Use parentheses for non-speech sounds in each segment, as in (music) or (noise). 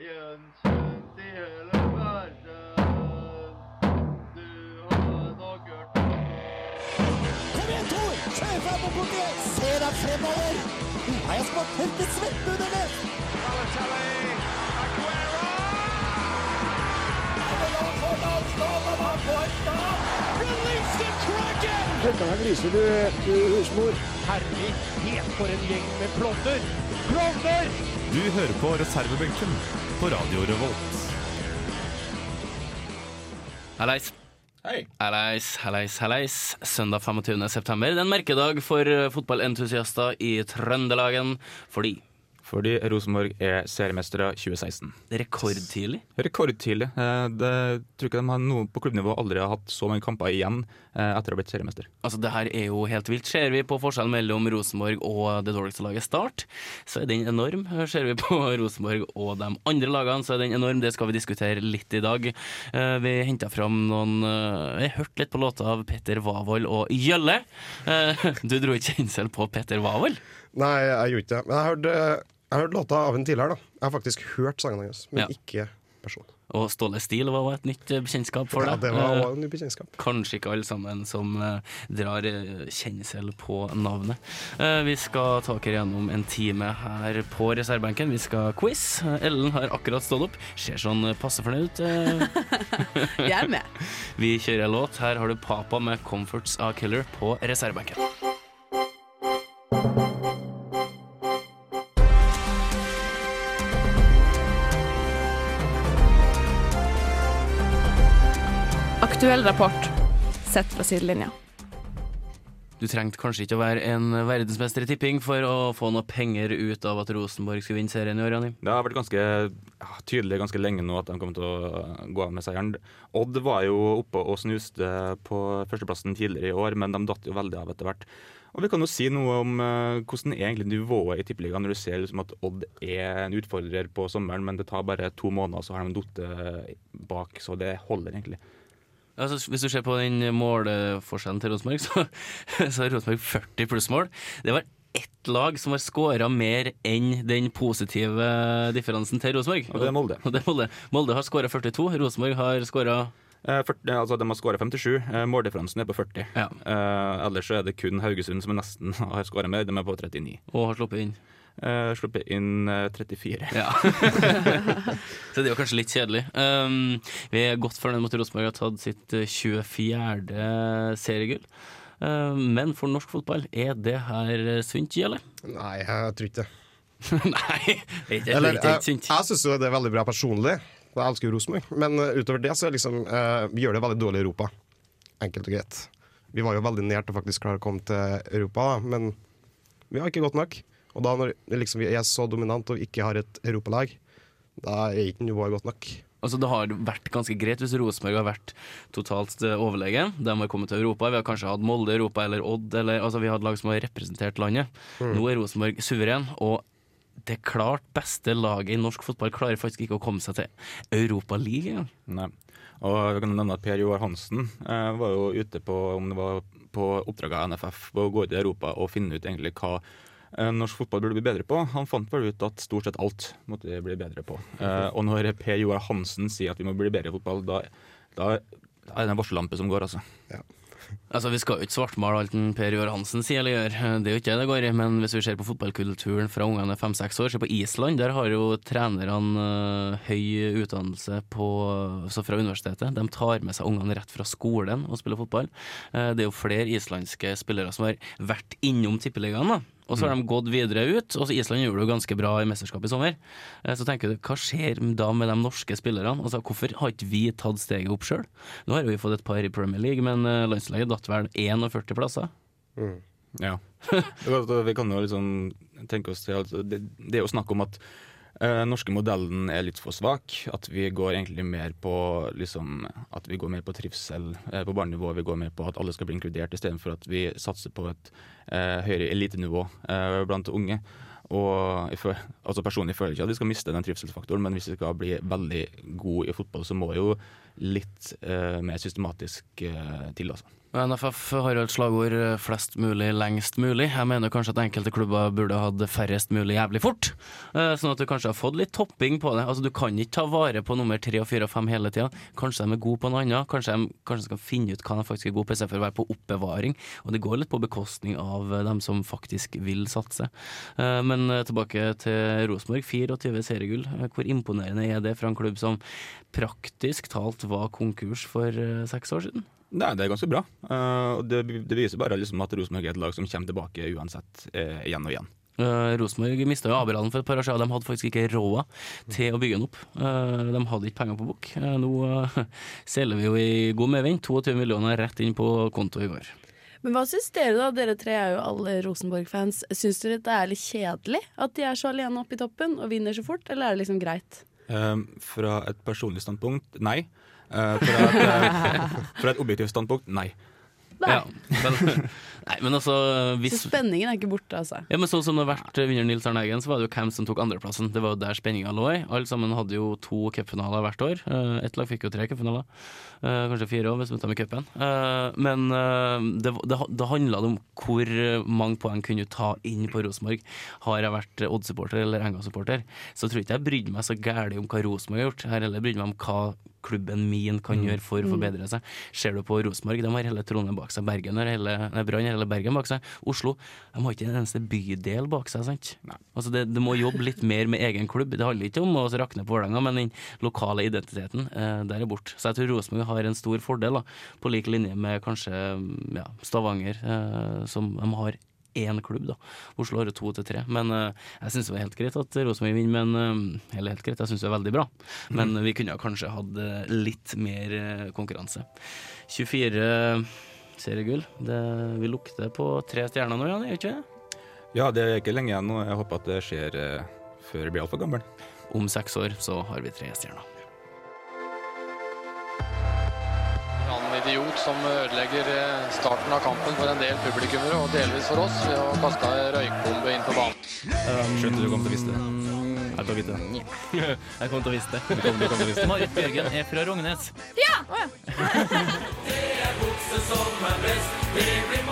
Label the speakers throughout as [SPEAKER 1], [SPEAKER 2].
[SPEAKER 1] Veden kjent i hele verden. Du har nok hørt om
[SPEAKER 2] Kom igjen, Tor! Kjør fram og bort igjen! Se deg fremover! Nå har jeg spart helt til svette under det!
[SPEAKER 3] Du hører på reservebenken på Radio Revolt.
[SPEAKER 4] Halleis.
[SPEAKER 5] Hei.
[SPEAKER 4] Halleis, halleis, halleis. Søndag 25. september. Det er en merkedag for eh, fotballentusiaster i Trøndelagen. Fordi
[SPEAKER 5] Fordi Rosenborg er seriemestere 2016.
[SPEAKER 4] det er rekordtidlig.
[SPEAKER 5] Rekordtidlig. Eh, Det tror ikke de har noe på klubbnivå aldri har hatt så mange kamper igjen eh, etter å ha blitt seriemester.
[SPEAKER 4] Altså, det her er jo helt vilt. Ser vi på forskjellen mellom Rosenborg og det dårligste laget Start, så er den enorm. Ser vi på (laughs) Rosenborg og de andre lagene, så er den enorm. Det skal vi diskutere litt i dag. Eh, Vi henta fram noen eh, Jeg hørte litt på låta av Petter Wavold og Gjølle. Eh, (laughs) Du dro ikke kjensel på Petter Wavold?
[SPEAKER 6] Nei, jeg gjorde ikke det. Men jeg hørte, jeg hørte låta av en tidligere, da. Jeg har faktisk hørt sangene hans, men
[SPEAKER 4] Ja.
[SPEAKER 6] ikke personen.
[SPEAKER 4] Og Ståle Stil var også et nytt eh, bekjentskap for
[SPEAKER 6] Ja,
[SPEAKER 4] deg.
[SPEAKER 6] det var
[SPEAKER 4] Eh,
[SPEAKER 6] også en ny bekjentskap.
[SPEAKER 4] Kanskje ikke alle sammen som eh, drar eh, kjensel på navnet. Eh, vi skal ta dere gjennom en time her på reservebenken. Vi skal ha quiz. Eh, Ellen har akkurat stått opp. Ser sånn eh, passe fornøyd ut. Eh,
[SPEAKER 7] Jeg er med.
[SPEAKER 4] vi kjører låt. Her har du Papa med 'Comforts A Killer' på reservebenken.
[SPEAKER 7] Aktuell rapport sett fra sidelinja.
[SPEAKER 4] Du trengte kanskje ikke å være en verdensmester i tipping for å få noe penger ut av at Rosenborg skulle vinne serien i år, Janim.
[SPEAKER 5] Det har vært ganske ja, tydelig ganske lenge nå at de kommer til å eh, gå av med seieren. Odd var jo oppe og snuste på førsteplassen tidligere i år, men de datt jo veldig av etter hvert. Og Vi kan jo si noe om eh, hvordan er egentlig nivået i Tippeligaen når du ser liksom at Odd er en utfordrer på sommeren, men det tar bare to måneder, så har de falt bak. Så det holder egentlig.
[SPEAKER 4] Altså, hvis du ser på den målforskjellen til Rosenborg, så, (laughs) så har Rosenborg 40 plussmål. Det var ett lag som har skåra mer enn den positive differansen til Rosenborg.
[SPEAKER 5] Og det er Molde.
[SPEAKER 4] Og det er Molde. Molde har skåra 42, Rosenborg har skåra
[SPEAKER 5] Eh, fyrt- eh, altså, de har skåra 57. Eh, måldifferansen er på 40.
[SPEAKER 4] Ja.
[SPEAKER 5] Eh, ellers så er det kun Haugesund som er nesten (laughs) har skåra mer. De er på 39.
[SPEAKER 4] og har sluppet inn.
[SPEAKER 5] Eh, sluppet inn eh, 34. (laughs)
[SPEAKER 4] Ja. så det er jo kanskje litt kjedelig. Um, vi er godt fornøyd med at Rosenborg har tatt sitt eh, 24. seriegull. Um, men for norsk fotball, er det her eh, sunt, eller?
[SPEAKER 6] Nei, jeg tror ikke det.
[SPEAKER 4] (laughs) Nei, det er ikke-
[SPEAKER 6] Eller,
[SPEAKER 4] det er
[SPEAKER 6] jeg,
[SPEAKER 4] ikke sunt.
[SPEAKER 6] jeg syns jo det er veldig bra personlig. Jeg elsker jo Rosenborg. Men eh, utover det så er liksom eh, Vi gjør det veldig dårlig i Europa. Enkelt og greit. Vi var jo veldig nær til å faktisk klare å komme til Europa, da, men vi har ikke godt nok. Og da når liksom, vi er så dominant og vi ikke har et europalag, da er ikke nivået godt nok.
[SPEAKER 4] Altså Det har vært ganske greit hvis Rosenborg har vært totalt eh, overlegen. De har kommet til Europa. Vi har kanskje hatt Molde i Europa eller Odd. Eller, altså Vi har hatt lag som har representert landet. Nå er Rosenborg suveren. og det klart beste laget i norsk fotball klarer faktisk ikke å komme seg til Europa League engang.
[SPEAKER 5] Nei. Og jeg kan nevne at Per Joar Hansen eh, var jo ute på om det var på oppdrag av NFF på å gå ut i Europa og finne ut egentlig hva eh, norsk fotball burde bli bedre på. Han fant vel ut at stort sett alt måtte de bli bedre på. Eh, og når Per Joar Hansen sier at vi må bli bedre i fotball, da, da da er det en varsellampe som går, altså.
[SPEAKER 4] Altså, Vi skal jo ikke svartmale alt den Per Joar Hansen sier eller gjør, det er jo ikke det det går i. Men hvis vi ser på fotballkulturen fra ungene er fem-seks år, se på Island. Der har jo trenerne eh, høy utdannelse på, så fra universitetet. De tar med seg ungene rett fra skolen og spiller fotball. Eh, Det er jo flere islandske spillere som har vært innom tippeligaen. da. Og så har de gått videre ut. og så Island gjorde det jo ganske bra i mesterskapet i sommer. Eh, Så tenker du, hva skjer da med de norske spillerne? Altså, Hvorfor har ikke vi tatt steget opp sjøl? Nå har vi fått et par i Premier League, men eh, landslaget datt vel 41 plasser.
[SPEAKER 5] Ja. (laughs) Det er godt at Vi kan jo liksom tenke oss til altså, det, det er jo snakk om at eh, norske modellen er litt for svak. At vi går egentlig mer på liksom, At vi går mer på trivsel eh, på barnenivå. Vi går mer på at alle skal bli inkludert, istedenfor at vi satser på et eh, høyere elitenivå eh, blant unge. Og jeg føl, altså Personlig føler jeg ikke at vi skal miste den trivselsfaktoren, men hvis vi skal bli veldig god i fotball, så må jo litt eh, mer systematisk eh, til. altså.
[SPEAKER 4] Og NFF har jo et slagord eh, 'flest mulig, lengst mulig'. Jeg mener kanskje at enkelte klubber burde hatt færrest mulig jævlig fort. Eh, Sånn at du kanskje har fått litt topping på det. Altså Du kan ikke ta vare på nummer tre og fire og fem hele tida. Kanskje de er gode på noe annet. Kanskje de kanskje skal finne ut hva de faktisk er gode på, istedenfor å være på oppbevaring. Og det går litt på bekostning av eh, dem som faktisk vil satse. Eh, Men eh, tilbake til Rosenborg. 24 seriegull. Eh, Hvor imponerende er det fra en klubb som praktisk talt var konkurs for eh, seks år siden?
[SPEAKER 5] Nei, det er ganske bra. Eh, og det, det viser bare liksom at Rosenborg er et lag som kommer tilbake uansett, eh, igjen og igjen.
[SPEAKER 4] Uh, Rosenborg mista jo Abrahallen for et par år siden, og de hadde faktisk ikke råd til å bygge den opp. Eh, de hadde ikke penger på bok. Eh, nå eh, selger vi jo i god medvind. 22 millioner rett inn på konto i går.
[SPEAKER 8] Men hva syns dere, da? Dere tre er jo alle Rosenborg-fans. Syns dere det er litt kjedelig at de er så alene oppe i toppen og vinner så fort, eller er det liksom greit?
[SPEAKER 5] Eh, fra et personlig standpunkt nei. Eh, fra, (laughs) et, eh, fra et objektivt standpunkt nei.
[SPEAKER 8] Nei.
[SPEAKER 4] Ja, men, (laughs) nei, men altså
[SPEAKER 8] Så
[SPEAKER 4] hvis,
[SPEAKER 8] spenningen er ikke borte, altså.
[SPEAKER 4] ja, men Sånn som det har vært under Nils Arne Eggen, så var det jo hvem som tok andreplassen. Det var jo der spenninga lå i. Alle sammen hadde jo to cupfinaler hvert år. Eh, Ett lag fikk jo tre cupfinaler. Eh, Kanskje fire år hvis vi tar med cupen. Eh, Men eh, det, det, det handla om hvor mange poeng kunne du ta inn på Rosenborg. Har jeg vært Odd-supporter eller Enga-supporter, så tror jeg ikke jeg brydde meg så gærent om hva Rosenborg har gjort. Jeg har heller brydd meg om hva klubben min kan gjøre for å forbedre seg. Ser du på Rosenborg, de har hele Trondheim bak seg. Bergen har hele nei, Brann har hele Bergen bak seg. Oslo de har ikke en eneste bydel bak seg. sant? Altså det, det må jobbe litt mer med egen klubb. Det handler ikke om å rakne på Vålerenga, men den lokale identiteten, eh, der er borte. Så jeg tror Rosenborg har en stor fordel, da, på lik linje med kanskje mm, ja, Stavanger, eh, som de har én klubb, da. Oslo har jo to til tre. Men eh, jeg syns det var helt greit at Rosenborg vinner, men eh, Eller helt greit, jeg syns det er veldig bra. Men vi kunne ha kanskje hatt eh, litt mer eh, konkurranse. 24 seriegull. Det, vi lukter på tre stjerner nå, Jan, gjør vi ikke det?
[SPEAKER 5] Ja, det er ikke lenge igjen, og jeg håper at det skjer eh, før jeg blir altfor gammel.
[SPEAKER 4] Om seks år så har vi tre stjerner.
[SPEAKER 9] annen idiot som ødelegger eh, starten av kampen for en del publikummere, og delvis for oss, ved å kaste ei røykbombe inn på banen.
[SPEAKER 5] Skjønte du kom til å vise det. Jeg tar vite det.
[SPEAKER 4] Jeg kommer til å vise det. Marit Bjørgen er fra Rognes.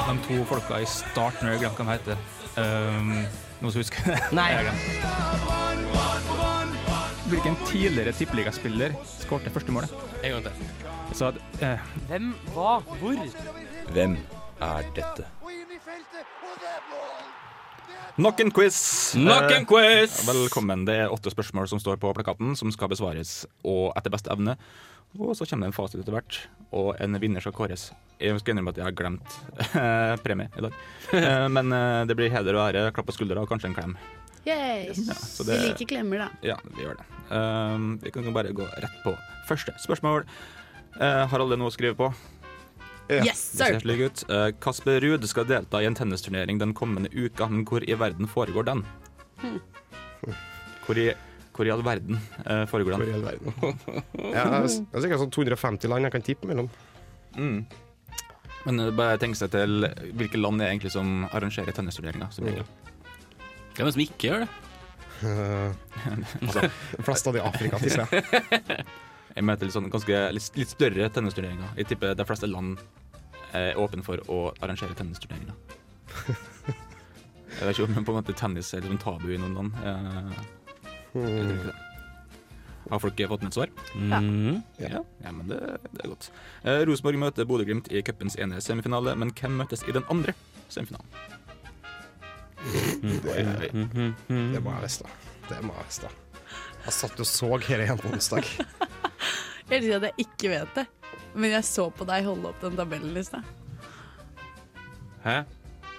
[SPEAKER 10] De to folka i starten, jeg glemte hva de heter. Ehm, Noen som husker det?
[SPEAKER 5] (laughs)
[SPEAKER 4] Nei.
[SPEAKER 10] Jeg har glemt. Hvilken tidligere tippeligaspiller skåret første målet?
[SPEAKER 4] En gang til.
[SPEAKER 10] Så at, eh,
[SPEAKER 4] Hvem, hva, hvor?
[SPEAKER 5] Nok en quiz!
[SPEAKER 4] Nok en quiz!
[SPEAKER 5] Eh, velkommen. Det er åtte spørsmål som står på plakaten, som skal besvares og etter beste evne. Og så kommer det en fasit etter hvert, og en vinner skal kåres. Jeg skal innrømme at jeg har glemt eh, premie i dag. Eh, men eh, det blir heder og ære, klapp på skuldra og kanskje en klem.
[SPEAKER 8] Yay.
[SPEAKER 5] Ja, så
[SPEAKER 8] Vi
[SPEAKER 5] det-
[SPEAKER 8] liker klemmer, da.
[SPEAKER 5] Ja, vi gjør det. Ehm, vi kan jo bare gå rett på første spørsmål. Eh, har alle noe å skrive på?
[SPEAKER 6] Ja.
[SPEAKER 8] Yes,
[SPEAKER 5] Det ser
[SPEAKER 8] sir!
[SPEAKER 5] slik ut. Eh, Kasper Ruud skal delta i en tennisturnering den kommende uka, men hvor i verden foregår den?
[SPEAKER 8] Hm.
[SPEAKER 5] Hvor i, hvor i all verden eh, foregår
[SPEAKER 6] Hvor
[SPEAKER 5] den?
[SPEAKER 6] i all verden. Ja, det er s- det er sikkert sånn 250 land jeg kan tippe
[SPEAKER 5] (laughs)
[SPEAKER 6] mellom.
[SPEAKER 5] Mm. Men eh, bare tenk seg til hvilke land er egentlig som arrangerer tennisturneringer. som regel.
[SPEAKER 4] Hvem er det som ikke gjør det?
[SPEAKER 6] Eh,
[SPEAKER 5] Altså,
[SPEAKER 6] De fleste av de i Afrika, tipper jeg.
[SPEAKER 5] jeg mener litt, sånn, ganske, litt, litt større tennisturneringer. Jeg tipper de fleste land er åpne for å arrangere tennisturneringer. Jeg vet ikke om men på en måte tennis er liksom tabu i noen land. Eh, jeg tror ikke det. Har folk eh, fått med et svar?
[SPEAKER 4] Mm.
[SPEAKER 5] Ja, ja men det, det er godt. Eh, Rosenborg møter Bodø-Glimt i cupens ene semifinale, men hvem møtes i den andre semifinalen? Oi, oi. Mm.
[SPEAKER 6] Det må jeg visst, da. Det må jeg visst, da. Jeg satt og så hele igjen på onsdag.
[SPEAKER 8] Jeg sier at jeg ikke vet det, men jeg så på deg holde opp den tabellen i stad.
[SPEAKER 5] Hæ?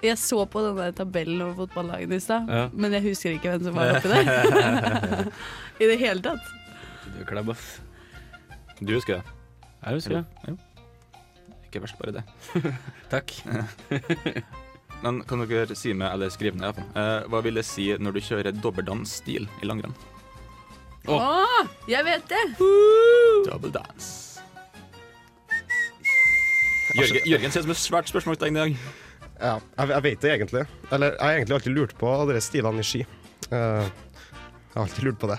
[SPEAKER 8] Jeg så på den der tabellen over fotballagene i stad,
[SPEAKER 4] Ja.
[SPEAKER 8] men jeg husker ikke hvem som var oppi der.
[SPEAKER 5] (laughs)
[SPEAKER 8] I det hele tatt.
[SPEAKER 4] Du er klebb, ass.
[SPEAKER 5] Du husker det?
[SPEAKER 4] Jeg husker det.
[SPEAKER 5] Ikke verst, bare det.
[SPEAKER 4] Takk.
[SPEAKER 5] Men kan dere si med, eller skrive ned, i hvert fall, eh, hva vil det si når du kjører dobbeltdans-stil i langrenn?
[SPEAKER 8] Å, jeg vet det!
[SPEAKER 5] Double dance. Jørgen, Jørgen ser ut som et svært spørsmålstegn i dag.
[SPEAKER 6] Ja, jeg, jeg vet det egentlig. Eller jeg har egentlig alltid lurt på de stilene i ski. Eh, jeg har alltid lurt på det.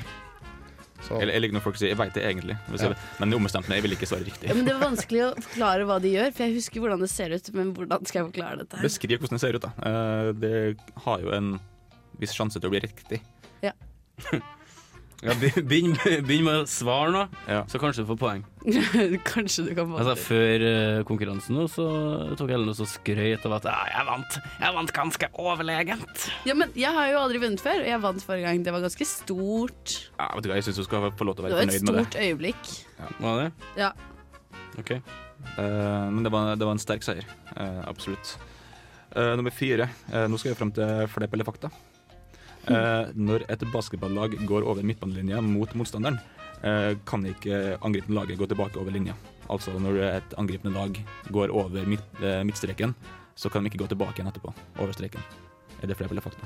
[SPEAKER 6] Så-
[SPEAKER 5] Jeg, jeg liker når folk sier 'jeg veit det egentlig', hvis jeg, men jeg ombestemte meg. Jeg ville ikke svare riktig.
[SPEAKER 8] Ja, men det var vanskelig å forklare hva de gjør, for jeg husker hvordan det ser ut. Men hvordan skal jeg forklare dette? her?
[SPEAKER 5] Beskriv hvordan det ser ut, da. Eh, Det har jo en viss sjanse til å bli riktig.
[SPEAKER 8] Ja.
[SPEAKER 4] Ja, be- Begynn begynn med å svare nå,
[SPEAKER 5] Ja.
[SPEAKER 4] så kanskje du får poeng.
[SPEAKER 8] (laughs) Kanskje du kan
[SPEAKER 4] Altså,
[SPEAKER 8] bare
[SPEAKER 4] før eh, konkurransen nå, så tok Ellen også skrøyt av at «Ja, 'jeg vant, jeg vant ganske overlegent'.
[SPEAKER 8] Ja, men jeg har jo aldri vunnet før, og jeg vant forrige gang. Det var ganske stort.
[SPEAKER 5] Ja, vet du hva, Jeg syns du skal få lov til å
[SPEAKER 8] Det
[SPEAKER 5] være
[SPEAKER 8] var et
[SPEAKER 5] fornøyd med det.
[SPEAKER 8] stort øyeblikk.
[SPEAKER 4] Var det?
[SPEAKER 8] Ja.
[SPEAKER 4] OK.
[SPEAKER 5] Eh, Men det var, det var en sterk seier. Eh, Absolutt. Eh, Nummer fire. Eh, Nå skal vi fram til fleip eller fakta. Eh, Når et basketballag går over midtbanelinja mot motstanderen, eh, kan ikke angripende laget gå tilbake over linja. Altså når et angripende lag går over midt, eh, midtstreken, så kan de ikke gå tilbake igjen etterpå. Over streken. Er det fleip eller fakta?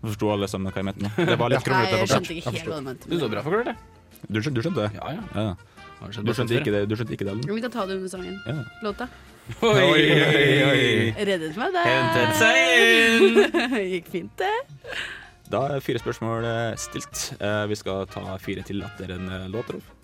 [SPEAKER 5] Forsto alle sammen hva jeg mente nå? Det var litt
[SPEAKER 8] Nei,
[SPEAKER 5] kronglete.
[SPEAKER 8] jeg
[SPEAKER 5] forklart.
[SPEAKER 8] skjønte ikke helt hva du mente.
[SPEAKER 4] Du så bra forklart, det.
[SPEAKER 5] Du skjønte, du skjønte det?
[SPEAKER 4] Ja, ja.
[SPEAKER 5] Ja, ja.
[SPEAKER 4] Har skjedd
[SPEAKER 5] Du
[SPEAKER 4] bra
[SPEAKER 5] skjønte
[SPEAKER 4] før.
[SPEAKER 5] ikke det, du skjønte ikke det? Ellen?
[SPEAKER 8] Vi kan ta det under sangen.
[SPEAKER 5] Ja.
[SPEAKER 8] Låta.
[SPEAKER 5] Oi, oi, oi.
[SPEAKER 8] Reddet meg
[SPEAKER 4] Hentet
[SPEAKER 8] der.
[SPEAKER 4] seg inn!
[SPEAKER 8] (laughs) Gikk fint, det.
[SPEAKER 5] Da er fire spørsmål eh, stilt. Eh, Vi skal ta fire til etter en eh, låt. Rolf.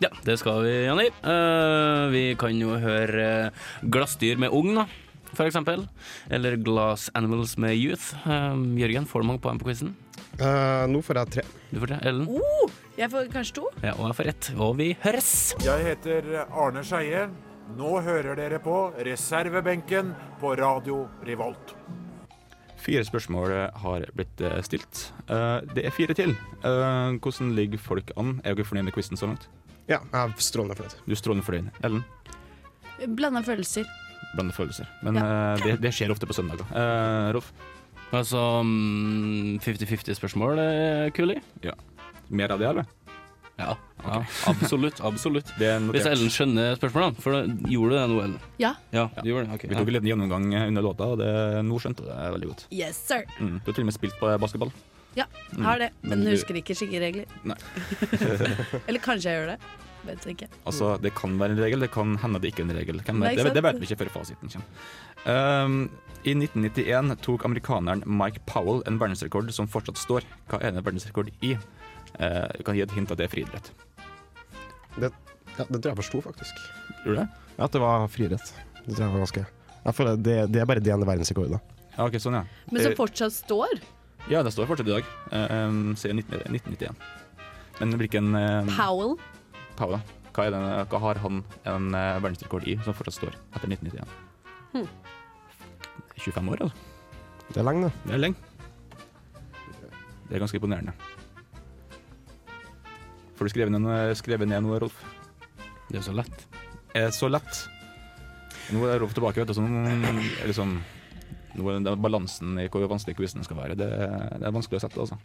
[SPEAKER 4] Ja, det skal vi, Janni. Eh, vi kan jo høre eh, glassdyr med ung, da, for eksempel. Eller Glass Animals med Youth. Eh, Jørgen, får du mange poeng på quizen?
[SPEAKER 6] Eh, nå får jeg tre.
[SPEAKER 4] Du får det. Ellen?
[SPEAKER 8] Oh, jeg får kanskje to.
[SPEAKER 4] Ja, og jeg får ett. Og vi høres!
[SPEAKER 11] Jeg heter Arne Skeie. Nå hører dere på reservebenken på Radio Revolt.
[SPEAKER 5] Fire spørsmål eh, har blitt eh, stilt. Eh, Det er fire til. Eh, Hvordan ligger folk an? Er dere fornøyd med quizen så langt?
[SPEAKER 6] Ja, jeg er strålende fornøyd.
[SPEAKER 5] Du er strålende fornøyd. Ellen?
[SPEAKER 8] Blanda følelser.
[SPEAKER 5] Blande følelser. Men eh, det, det skjer ofte på søndager. Eh, Rolf?
[SPEAKER 4] Altså mm, 50-50-spørsmål er kul i.
[SPEAKER 5] Mer av det, eller?
[SPEAKER 4] Ja. ja absolutt. absolutt.
[SPEAKER 5] Det er
[SPEAKER 4] Hvis Ellen
[SPEAKER 5] notert.
[SPEAKER 4] skjønner spørsmålene, for da gjorde du det nå, Ellen?
[SPEAKER 8] Ja.
[SPEAKER 4] Ja, du gjorde det. ok.
[SPEAKER 5] Vi tok en liten gjennomgang eh, under låta, og det, nå skjønte jeg det veldig godt.
[SPEAKER 8] Yes, sir.
[SPEAKER 5] Mm. Du har til og med spilt på basketball. Mm.
[SPEAKER 8] Ja, har det. Men
[SPEAKER 5] Men du-
[SPEAKER 8] husker ikke skikkeregler.
[SPEAKER 5] Nei.
[SPEAKER 8] (laughs) Eller kanskje jeg gjør det. Vet ikke.
[SPEAKER 5] Altså, det kan være en regel, det kan hende det ikke er en regel. Hvem
[SPEAKER 8] Mm.
[SPEAKER 5] vet?
[SPEAKER 8] Nei,
[SPEAKER 5] Det,
[SPEAKER 8] ikke sant?
[SPEAKER 5] det vet vi ikke før fasiten kommer. Um, I 1991 tok amerikaneren Mike Powell en verdensrekord som fortsatt står. Hva er det en verdensrekord i? Eh, jeg kan gi et hint at det er friidrett.
[SPEAKER 6] Ja, det tror jeg forsto, faktisk.
[SPEAKER 5] Gjorde du det?
[SPEAKER 6] Ja, At det var friidrett. Det tror jeg var ganske jeg føler det, det er bare det ene verdensrekordet.
[SPEAKER 5] Ja, ok, sånn ja.
[SPEAKER 8] Men som
[SPEAKER 5] Eh,
[SPEAKER 8] fortsatt står.
[SPEAKER 5] Ja, det står fortsatt i dag. Eh, um, siden 19, 1991. Men hvilken eh,
[SPEAKER 8] Powell.
[SPEAKER 5] Powell, da? Hva, er den, hva har han en eh, verdensrekord i som fortsatt står etter 1991?
[SPEAKER 8] Hm.
[SPEAKER 5] 25 år, altså.
[SPEAKER 6] Det er lenge, det.
[SPEAKER 5] Det er lenge. Det er ganske imponerende. Får du skrevet ned, noe- skrevet ned noe, Rolf?
[SPEAKER 4] Det er så lett.
[SPEAKER 5] Er Eh, så lett. Nå er Rolf tilbake, vet du, så nå er liksom nå er det balansen i hvor vanskelig quizene skal være. Det, er- det er vanskelig å sette, altså.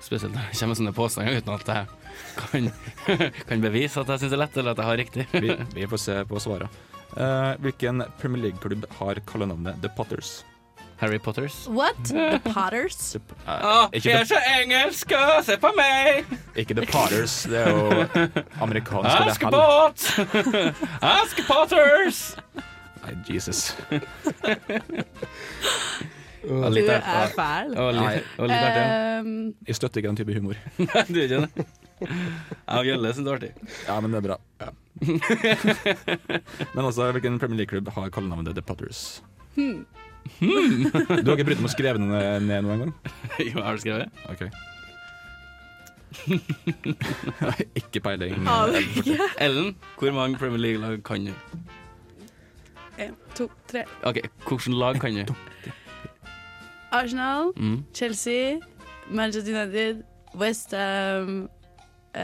[SPEAKER 4] Spesielt når det kommer sånne påstander uten at jeg kan, (laughs) kan bevise at jeg syns det er lett, eller at jeg har riktig.
[SPEAKER 5] Vi, vi får se på svarene. Eh, hvilken Premier League-klubb har kallenavnet The Potters?
[SPEAKER 4] Harry Potters.
[SPEAKER 8] What? The Potters.
[SPEAKER 5] The, eh,
[SPEAKER 4] jeg
[SPEAKER 5] ikke,
[SPEAKER 4] så engelsk, og se på meg!
[SPEAKER 5] the, ikke The Potters, det er jo amerikansk. og det er hell.
[SPEAKER 4] Askepott! (laughs) Askepotters!
[SPEAKER 5] Nei, Jesus.
[SPEAKER 8] Du er fæl.
[SPEAKER 4] Det var litt, det var litt artig.
[SPEAKER 8] Um,
[SPEAKER 5] Jeg støtter ikke den type humor.
[SPEAKER 4] (laughs) Du er ikke det? Jeg og Gjølle syns det var artig.
[SPEAKER 5] Ja, men det er bra. (laughs) men altså, hvilken Premier League-klubb har kallenavnet The Potters? Hmm. du har ikke brydd deg om å skrive den ned noen gang?
[SPEAKER 4] (laughs) Jo, har du skrevet?
[SPEAKER 5] (laughs) Ok. Nei, ikke peiling.
[SPEAKER 8] Aner ikke.
[SPEAKER 4] Ellen, hvor mange Premier League-lag kan du?
[SPEAKER 8] En, (laughs) to, tre.
[SPEAKER 4] OK, hvilket lag kan du?
[SPEAKER 8] Arsenal,
[SPEAKER 4] Mm.
[SPEAKER 8] Chelsea, Manchester United, Westham uh,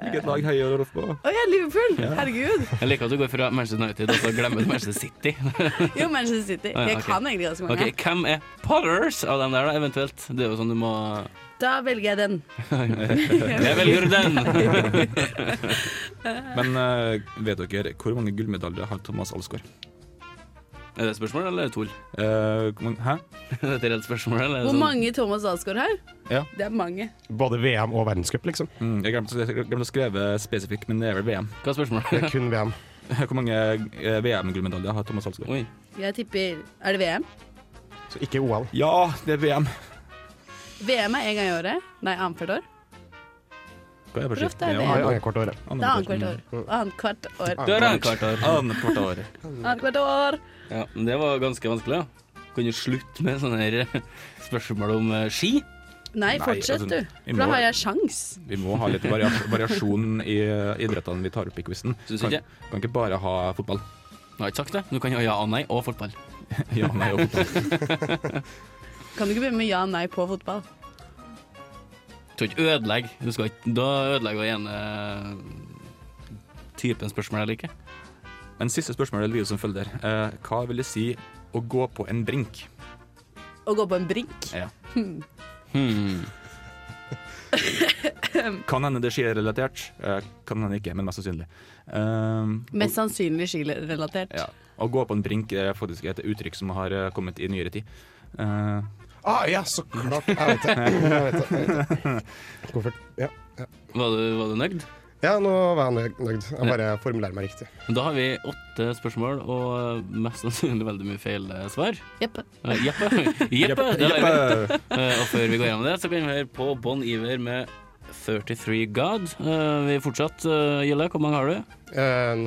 [SPEAKER 5] Hvilket lag heier Rolf på?
[SPEAKER 8] Å ja, Liverpool! Herregud.
[SPEAKER 4] Jeg liker at du går fra Manchester United og så glemmer du Manchester City.
[SPEAKER 8] Jo, Manchester City.
[SPEAKER 4] Å ja,
[SPEAKER 8] Jeg
[SPEAKER 4] ok.
[SPEAKER 8] kan egentlig ganske mange.
[SPEAKER 4] Ok, Hvem er Potters av dem der, da, eventuelt? Det er jo sånn du må
[SPEAKER 8] Da velger jeg den.
[SPEAKER 4] Jeg velger den!
[SPEAKER 5] Men eh, vet dere hvor mange gullmedaljer har Thomas Alsgaard?
[SPEAKER 4] Er det et spørsmål eller et tull?
[SPEAKER 5] Eh, hvor mange- hæ?
[SPEAKER 4] Er (laughs) det et reelt spørsmål? Eller er det
[SPEAKER 8] Hvor
[SPEAKER 4] sånn-
[SPEAKER 8] mange Thomas Alsgaard har?
[SPEAKER 5] Ja.
[SPEAKER 8] Det er mange.
[SPEAKER 6] Både VM og verdenscup, liksom.
[SPEAKER 5] Mm, jeg glemte, jeg glemte å skrive spesifikt, men det er vel VM.
[SPEAKER 4] Hva er
[SPEAKER 6] (laughs)
[SPEAKER 4] spørsmålet?
[SPEAKER 6] Det er kun VM.
[SPEAKER 5] (laughs) Hvor mange eh, VM-gullmedaljer har Thomas Alsgaard?
[SPEAKER 4] Oi.
[SPEAKER 8] Jeg tipper Er det VM?
[SPEAKER 6] Så ikke OL.
[SPEAKER 5] Ja, det er VM.
[SPEAKER 8] VM er én gang i året. Nei, annethvert år.
[SPEAKER 5] Hva er på
[SPEAKER 8] Hvor
[SPEAKER 5] skift?
[SPEAKER 8] ofte er det?
[SPEAKER 6] Annethvert år.
[SPEAKER 8] Det er Annethvert år. Annethvert år.
[SPEAKER 4] Du har annethvert år.
[SPEAKER 5] Annethvert år.
[SPEAKER 8] Annethvert år.
[SPEAKER 4] Ja, men det var ganske vanskelig, da. Kan du slutte med sånne her (laughs) spørsmål om eh, ski?
[SPEAKER 5] Nei,
[SPEAKER 8] Nei, fortsett
[SPEAKER 5] altså,
[SPEAKER 8] du.
[SPEAKER 5] vi
[SPEAKER 8] For da
[SPEAKER 5] må-
[SPEAKER 8] har jeg sjans.
[SPEAKER 5] Vi må ha litt varia variasjon i eh, idrettene vi tar opp i quizen.
[SPEAKER 4] Syns
[SPEAKER 5] Kan,
[SPEAKER 4] ikke.
[SPEAKER 5] kan ikke bare ha fotball. (laughs)
[SPEAKER 4] Jeg har ikke sagt det. Du kan ha ja og nei og fotball.
[SPEAKER 5] Ja, nei, og fotball.
[SPEAKER 8] Kan du ikke begynne med ja og nei på fotball?
[SPEAKER 4] Du skal ikke ødelegge. Du skal ikke, da ødelegger du ene typen spørsmål jeg liker.
[SPEAKER 5] Men siste spørsmål lyder som følger. Eh, hva vil det si å gå på en brink?
[SPEAKER 8] Å gå på en brink?
[SPEAKER 5] Ja.
[SPEAKER 8] Hmm.
[SPEAKER 4] Hmm.
[SPEAKER 5] Kan hende det er skirelatert, eh, kan hende ikke, men mest sannsynlig. Um,
[SPEAKER 8] Mest sannsynlig skirelatert.
[SPEAKER 5] Ja. Å gå på en brink er faktisk et uttrykk som har eh, kommet i nyere tid. Eh,
[SPEAKER 6] Ah, ja, så klart. Jeg vet det. Jeg vet det. Jeg vet det. Koffert. Ja. ja.
[SPEAKER 4] Var du, var du nøyd?
[SPEAKER 6] ja, nå var jeg nøyd- nøyd. Jeg bare formulerer meg riktig.
[SPEAKER 4] Da har vi åtte spørsmål og mest sannsynlig veldig mye feil eh, svar.
[SPEAKER 8] Jeppe.
[SPEAKER 4] Eh, Jeppe. Jeppe, det har
[SPEAKER 5] Jeppe.
[SPEAKER 4] vi. Eh, Og før vi går gjennom det, så kan vi høre på Bon Iver med 33 God. Eh, Vi er fortsatt eh, Gjelle, hvor mange har du?
[SPEAKER 6] Eh,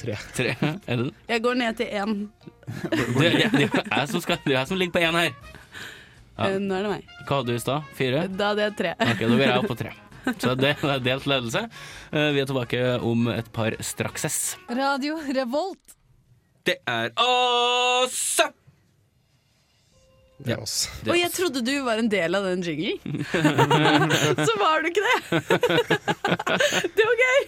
[SPEAKER 6] tre.
[SPEAKER 4] Tre? (laughs) Er det
[SPEAKER 8] Jeg går ned til én.
[SPEAKER 4] det, det, det, er jeg som skal, det er jeg som ligger på én her. Ja.
[SPEAKER 8] Eh, Nå er det meg.
[SPEAKER 4] Hva hadde du i stad? Fire?
[SPEAKER 8] Da hadde jeg tre.
[SPEAKER 4] Ok, da går jeg opp på tre. Så det det er delt ledelse. Eh, Vi er tilbake om et par strakses.
[SPEAKER 12] Radio Revolt.
[SPEAKER 4] Det er oss!
[SPEAKER 6] Det er oss. (laughs)
[SPEAKER 8] Og jeg trodde du var en del av den jinglen. Så var du ikke det!
[SPEAKER 6] (laughs)
[SPEAKER 8] Det var gøy!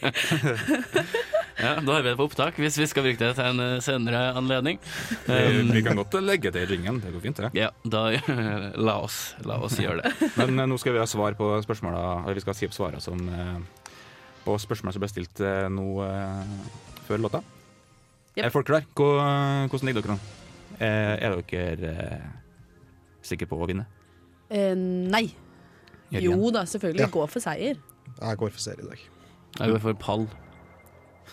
[SPEAKER 4] Ja, da har vi det på opptak, hvis vi skal bruke det til en eh, senere anledning.
[SPEAKER 5] vi,
[SPEAKER 4] Um,
[SPEAKER 5] vi kan godt legge til ringen, det går fint, det.
[SPEAKER 4] ja, da (laughs) la oss, la oss gjøre det.
[SPEAKER 5] Men eh, nå skal vi ha svar på spørsmåla, eller vi skal si opp svara som eh, På spørsmåla som ble stilt eh, nå eh, før låta.
[SPEAKER 8] Jep.
[SPEAKER 5] Er folk klare? Hvor- Hvordan ligger dere nå? Eh, er dere eh, sikre på å vinne?
[SPEAKER 8] Eh, nei.
[SPEAKER 5] Jørgen?
[SPEAKER 8] Jo da, selvfølgelig. Gå for seier.
[SPEAKER 6] Jeg går for serie i dag.
[SPEAKER 4] Jeg går for pall.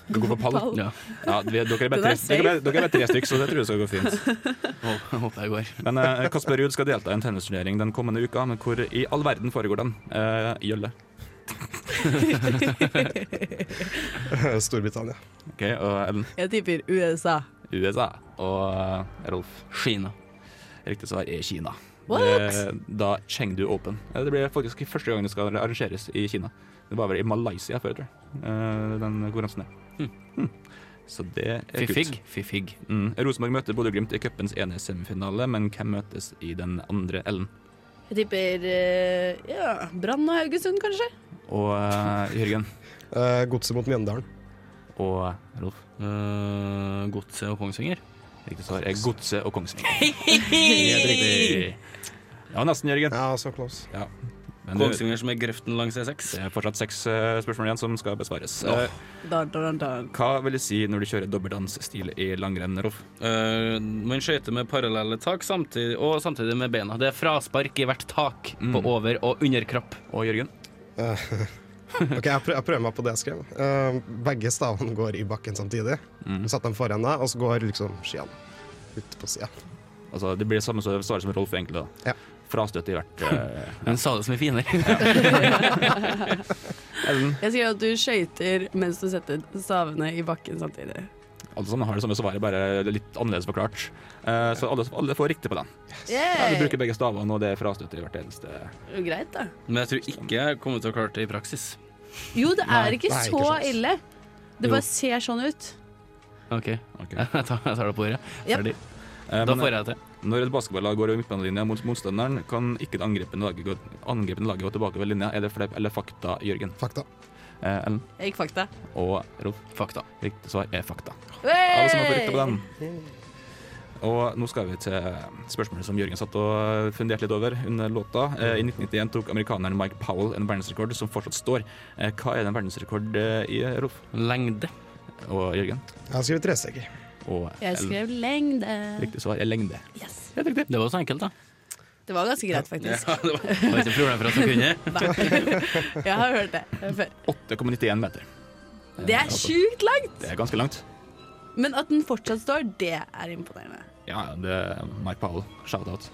[SPEAKER 5] Du går for pall?
[SPEAKER 8] Pall.
[SPEAKER 4] Ja,
[SPEAKER 5] Ja, vi, dere er
[SPEAKER 8] Den er
[SPEAKER 5] bare tre,
[SPEAKER 8] safe.
[SPEAKER 5] dere er bare- dere er bare tre stykker, så det tror jeg skal gå fint.
[SPEAKER 4] håper håper jeg går.
[SPEAKER 5] Men eh, Kasper Ruud skal delta i en tennisturnering den kommende uka, men hvor i all verden foregår den? Eh, Gjølle.
[SPEAKER 6] Storbritannia.
[SPEAKER 5] Ok, og Ellen.
[SPEAKER 8] (laughs) Jeg tipper USA.
[SPEAKER 5] USA. Og eh, Rolf.
[SPEAKER 4] Kina.
[SPEAKER 5] Riktig svar er Kina.
[SPEAKER 8] What?
[SPEAKER 6] Eh.
[SPEAKER 5] Det, Eh, da Chengdu Open. Eh, Det blir faktisk første gang det skal arrangeres i Kina. Det var vel i Malaysia før, tror jeg, eh, den konkurransen der. Hmm. Så det er
[SPEAKER 4] Fiffig.
[SPEAKER 5] kult.
[SPEAKER 4] Fiffig.
[SPEAKER 5] Mm. Rosenborg møter Bodø-Glimt i cupens ene semifinale, men hvem møtes i den andre, Ellen?
[SPEAKER 8] Jeg tipper eh, ja, Brann og Haugesund, kanskje.
[SPEAKER 5] Og eh, Jørgen.
[SPEAKER 6] Eh, Godset mot Mjøndalen.
[SPEAKER 5] Og Rolf.
[SPEAKER 4] Uh, Godset og Kongsvinger.
[SPEAKER 5] Riktig svar er Godset og Kongsvinger. Helt riktig. Ja, nesten, Jørgen.
[SPEAKER 6] Ja, så close.
[SPEAKER 5] Ja. Men det,
[SPEAKER 4] Kongsvinger som er grøften langs E E6.
[SPEAKER 5] det er fortsatt seks eh, spørsmål igjen som skal besvares. Eh,
[SPEAKER 8] Dun, dun, dun.
[SPEAKER 5] Hva vil det si når du kjører dobbeltdansstil i langrenn, Rolf?
[SPEAKER 4] Eh, man skøyter med parallelle tak samtidig, og samtidig med beina. Det er fraspark i hvert tak på over- og underkropp.
[SPEAKER 5] Og Jørgen?
[SPEAKER 6] Ok, jeg, prø jeg prøver meg på det jeg skrev. Eh, begge stavene går i bakken samtidig. Du setter dem foran deg, og så går liksom skiene ut på sida.
[SPEAKER 5] Altså, det blir det samme som- svaret som Rolf, egentlig. da.
[SPEAKER 6] Ja.
[SPEAKER 5] Frastøt i hvert eh,
[SPEAKER 4] Hun sa det som er finere.
[SPEAKER 5] Ellen.
[SPEAKER 8] Jeg skrev at du skøyter mens du setter stavene i bakken samtidig.
[SPEAKER 5] Alle sammen har det samme svaret, bare litt annerledes forklart. Eh, så alle, alle får riktig på den. Ja, du
[SPEAKER 8] Yay!
[SPEAKER 5] bruker begge stavene, og det er frastøt i hvert eneste
[SPEAKER 8] Det er jo Greit, da.
[SPEAKER 4] (laughs) Men jeg tror ikke jeg kommer til å klare det i praksis.
[SPEAKER 8] Jo, det er ikke
[SPEAKER 6] det er ikke
[SPEAKER 8] så
[SPEAKER 6] sjans.
[SPEAKER 8] ille. Det
[SPEAKER 4] Jo.
[SPEAKER 8] bare ser sånn ut.
[SPEAKER 4] OK,
[SPEAKER 5] Ok.
[SPEAKER 4] (laughs) jeg tar, jeg tar det på ordet.
[SPEAKER 8] Yep.
[SPEAKER 4] Ferdig.
[SPEAKER 5] Eh,
[SPEAKER 4] Da
[SPEAKER 5] men-
[SPEAKER 4] får jeg det til.
[SPEAKER 5] Når et basketballag går over midtbanelinja mot motstanderen, kan ikke det angripende laget gå, angripende laget gå tilbake ved linja. Er det fleip eller fakta, Jørgen?
[SPEAKER 6] Fakta.
[SPEAKER 5] Eh, Ellen
[SPEAKER 8] Jeg gikk fakta.
[SPEAKER 5] og Rolf.
[SPEAKER 4] Fakta.
[SPEAKER 5] Riktig svar er fakta. Alle som har fått riktig på
[SPEAKER 8] Hey!
[SPEAKER 5] den. Og nå skal vi til spørsmålet som Jørgen satt og funderte litt over under låta. Eh, I 1991 tok amerikaneren Mike Powell en verdensrekord som fortsatt står. Eh, Hva er den verdensrekord eh, i, Rolf?
[SPEAKER 4] Lengde.
[SPEAKER 5] Og Jørgen?
[SPEAKER 6] Jeg har skrevet tresteker.
[SPEAKER 5] Og
[SPEAKER 8] Jeg
[SPEAKER 5] Ellen.
[SPEAKER 8] skrev lengde.
[SPEAKER 5] Riktig svar er lengde.
[SPEAKER 8] Yes.
[SPEAKER 4] Det var så (laughs) enkelt, da.
[SPEAKER 8] Det var ganske greit, faktisk.
[SPEAKER 4] det var ikke problem for at jeg kunne.
[SPEAKER 5] (laughs)
[SPEAKER 8] Jeg har hørt det
[SPEAKER 6] (laughs)
[SPEAKER 8] før.
[SPEAKER 5] 8,91 meter. Eh,
[SPEAKER 8] Det er
[SPEAKER 5] altså,
[SPEAKER 8] sjukt langt!
[SPEAKER 5] Det er ganske langt.
[SPEAKER 8] Men at den fortsatt står, det er imponerende.
[SPEAKER 5] Ja, det er Mike Powell. Shout-out.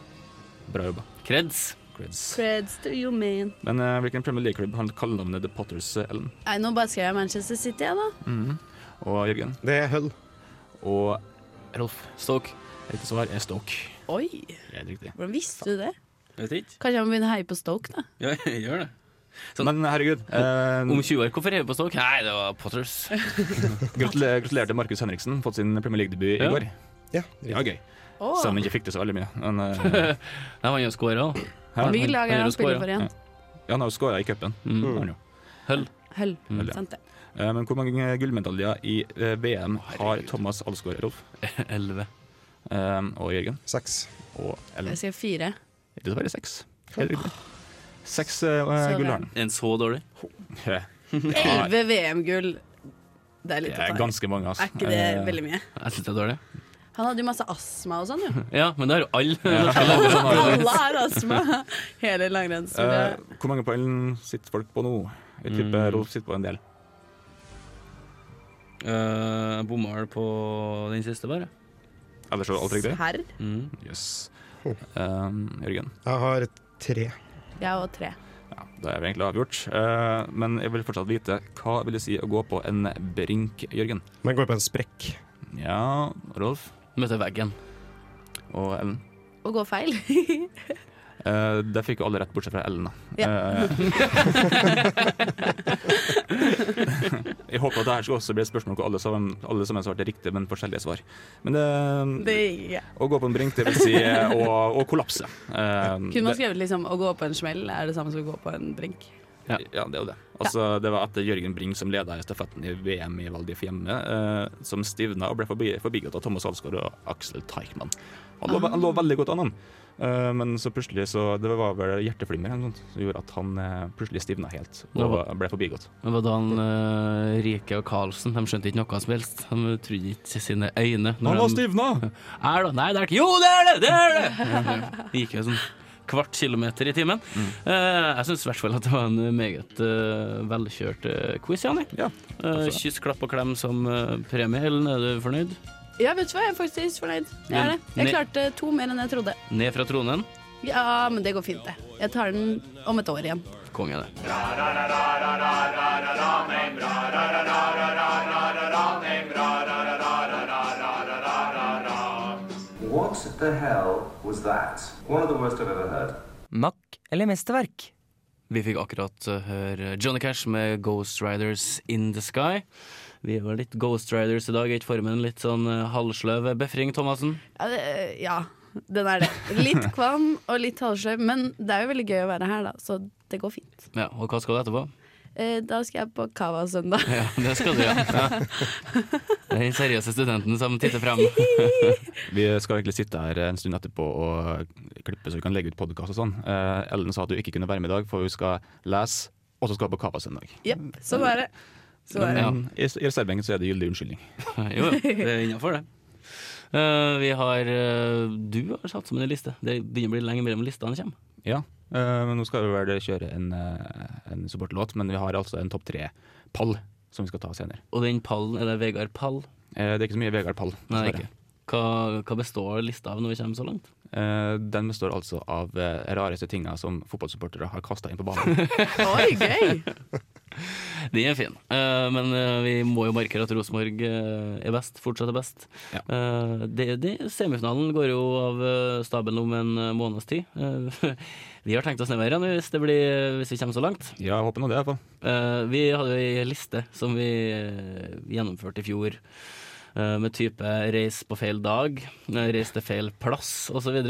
[SPEAKER 5] Bra jobba.
[SPEAKER 4] Kreds.
[SPEAKER 5] Creds.
[SPEAKER 8] Creds to you, man.
[SPEAKER 5] Men eh, hvilken Premier League-klubb har kallenavnet The Potters, eh, Ellen?
[SPEAKER 8] Nei, nå bare skrev jeg Manchester City, jeg, da.
[SPEAKER 5] Og Jørgen?
[SPEAKER 6] Det er Hull.
[SPEAKER 5] Og Rolf?
[SPEAKER 4] Stoke.
[SPEAKER 5] Riktig svar er Stoke.
[SPEAKER 8] Oi!
[SPEAKER 5] Det er riktig.
[SPEAKER 8] Hvordan visste du det?
[SPEAKER 4] Vet ikke.
[SPEAKER 8] Kanskje jeg må begynne å heie på Stoke, da.
[SPEAKER 4] Ja, (laughs) gjør det.
[SPEAKER 5] Men herregud, eh,
[SPEAKER 4] Om 20 år, hvorfor heier du på Stoke? Nei, det var Potters.
[SPEAKER 5] gratulerer, gratulerer til Markus Henriksen. Fått sin Premier League-debut
[SPEAKER 4] Ja.
[SPEAKER 5] i går.
[SPEAKER 6] Ja,
[SPEAKER 5] Det var gøy.
[SPEAKER 8] Åh.
[SPEAKER 5] Selv om han ikke fikk det så veldig mye. Men, eh,
[SPEAKER 4] Nei, han har skåra òg.
[SPEAKER 5] Hæ?
[SPEAKER 8] Hvilket lag er det
[SPEAKER 4] Han
[SPEAKER 8] han spiller
[SPEAKER 4] scorer.
[SPEAKER 8] for igjen?
[SPEAKER 5] ja, han har jo skåra i cupen. Det har han jo.
[SPEAKER 4] Hull.
[SPEAKER 8] Hull.
[SPEAKER 5] Hull, ja.
[SPEAKER 8] Sant det.
[SPEAKER 5] Eh, Men hvor mange gullmedaljer i eh, VM har Thomas Alsgaard, Rolf?
[SPEAKER 4] 11.
[SPEAKER 5] Eh, Og Jørgen?
[SPEAKER 6] Seks.
[SPEAKER 5] Og Ellen?
[SPEAKER 8] Jeg skrev fire.
[SPEAKER 5] Dessverre seks. Helt riktig. Seks uh,
[SPEAKER 4] (laughs)
[SPEAKER 5] gull har han.
[SPEAKER 4] En så dårlig?
[SPEAKER 5] Ja,
[SPEAKER 8] Elleve VM-gull. Det er
[SPEAKER 5] Det
[SPEAKER 8] litt å
[SPEAKER 5] er
[SPEAKER 8] ta i.
[SPEAKER 5] ganske mange, altså.
[SPEAKER 8] Er ikke det veldig mye?
[SPEAKER 4] Jeg syns det er dårlig.
[SPEAKER 8] Han hadde jo masse astma og
[SPEAKER 5] (laughs)
[SPEAKER 8] sånn, jo.
[SPEAKER 4] Ja, men det har jo alle.
[SPEAKER 8] Alle har astma. Hele langrennsmiljøet.
[SPEAKER 5] eh, hvor mange poeng sitter folk på nå? Jeg tipper Rolf sitter på en del.
[SPEAKER 4] Uh, Bomma vel på den siste, bare. Mm.
[SPEAKER 5] Ellers er det alt riktig?
[SPEAKER 8] Herr.
[SPEAKER 5] Yes. Eh, Jørgen?
[SPEAKER 6] Jeg har tre.
[SPEAKER 8] Jeg og tre.
[SPEAKER 5] Ja, da er vi egentlig avgjort. Eh, men jeg vil fortsatt vite hva vil det si å gå på en brink, Jørgen?
[SPEAKER 6] Men går på en sprekk.
[SPEAKER 5] Ja, Rolf
[SPEAKER 4] Møter veggen.
[SPEAKER 5] og Ellen.
[SPEAKER 8] Å gå feil.
[SPEAKER 5] Uh, det fikk jo alle rett, bortsett fra Ellen, da. Eh, (laughs) jeg håper at det her skal også bli et spørsmål hvor alle sammen, alle sammen svarte riktig, men forskjellige svar. Men det,
[SPEAKER 8] (laughs) Det gikk ikke.
[SPEAKER 5] Å gå på en brink, det vil si eh, å, å kollapse. Eh,
[SPEAKER 8] Kunne man
[SPEAKER 5] det,
[SPEAKER 8] skrevet liksom 'å gå på en smell' er det samme som å gå på en drink?
[SPEAKER 5] ja, det er jo det. Altså, det var etter Jørgen Bring som leda i stafetten i VM i Valdif hjemme, eh, som stivna og ble forbi, forbigått av Thomas Alsgaard og Aksel Teichmann. Han lå, han lå veldig godt an, han. Eh, men så plutselig så Det var vel hjerteflimmer eller noe sånt som gjorde at han eh, plutselig stivna helt og
[SPEAKER 4] Ja.
[SPEAKER 5] ble forbigått.
[SPEAKER 4] Det var da han eh, Rike og Karlsen de skjønte ikke noe som helst. De trodde ikke sine øyne. når de-
[SPEAKER 5] stivna!
[SPEAKER 4] Er det? Nei, det er ikke Jo, det er det! Det er det! Det gikk jo sånn kvart kilometer i timen. Eh, jeg syns i hvert fall at det var en meget eh, velkjørt eh, quiz, Janni.
[SPEAKER 5] Ja,
[SPEAKER 4] Eh,
[SPEAKER 5] altså.
[SPEAKER 4] kyss, klapp og klem som eh, premie. Ellen, er du fornøyd?
[SPEAKER 8] Ja, vet du hva, jeg er faktisk fornøyd. Jeg, er det. jeg
[SPEAKER 4] Ne-
[SPEAKER 8] klarte to mer enn jeg trodde.
[SPEAKER 4] Ned fra tronen.
[SPEAKER 8] Ja, men det går fint, det. Jeg tar den om et år igjen.
[SPEAKER 4] Konge, det.
[SPEAKER 12] What the hell was that? One of the worst I've ever heard.
[SPEAKER 4] Mack eller mesterverk? Vi fikk akkurat eh, høre Johnny Cash med Ghost Riders In The Sky. Vi er vel litt Ghost Riders i dag, er ikke formen litt sånn eh, halvsløv befring, Thomassen?
[SPEAKER 8] Ja, det, ja den er det. Litt
[SPEAKER 4] (laughs)
[SPEAKER 8] kvam og litt halvsløv, men det er jo veldig gøy å være her, da, så det går fint.
[SPEAKER 4] Ja, og hva skal du etterpå? (laughs)
[SPEAKER 8] Eh, Da skal jeg på Cava søndag.
[SPEAKER 4] Ja, det skal (laughs) du, ja. ja. Det er Den seriøse studenten som titter frem.
[SPEAKER 5] Vi skal egentlig sitte her en stund etterpå og klippe så vi kan legge ut podkast og sånn. Eh, Ellen sa at du ikke kunne være med i dag, for hun skal lese, og så skal hun på Kava søndag.
[SPEAKER 8] (laughs) Jepp, sånn er det. Sånn er det.
[SPEAKER 5] Men i i reservebenken så er det gyldig unnskyldning.
[SPEAKER 4] Jo, jo, det er innafor, det. Eh, vi har eh, Du har satt som en liste. Det begynner å bli lenge mellom listene kommer.
[SPEAKER 5] Ja, eh, men nå skal vi vel kjøre en, eh, en supportlåt, men vi har altså en topp tre-pall som vi skal ta senere.
[SPEAKER 4] Og den pallen, er det Vegard Pall?
[SPEAKER 5] Eh, det er ikke så mye Vegard Pall.
[SPEAKER 4] Nei,
[SPEAKER 5] dessverre.
[SPEAKER 4] ikke. Hva, hva består lista av når vi kommer så langt?
[SPEAKER 5] Eh, den består altså av eh, rareste tinga som fotballsupportere har kasta inn på banen.
[SPEAKER 8] Oi, gøy!
[SPEAKER 4] Den er fin, Eh, men eh, vi må jo markere at Rosenborg eh, er best, fortsatt er best.
[SPEAKER 5] Ja.
[SPEAKER 4] Eh, det, det, semifinalen går jo av eh, stabelen om en eh, måneds tid. Eh, (laughs) vi har tenkt oss ned mer igjen hvis, det blir, eh, hvis vi kommer så langt.
[SPEAKER 5] (laughs) ja, jeg håper nå det, iallfall.
[SPEAKER 4] Eh, vi hadde jo ei liste som vi eh, gjennomførte i fjor, eh, med type reis på feil dag, eh, reis til feil plass osv.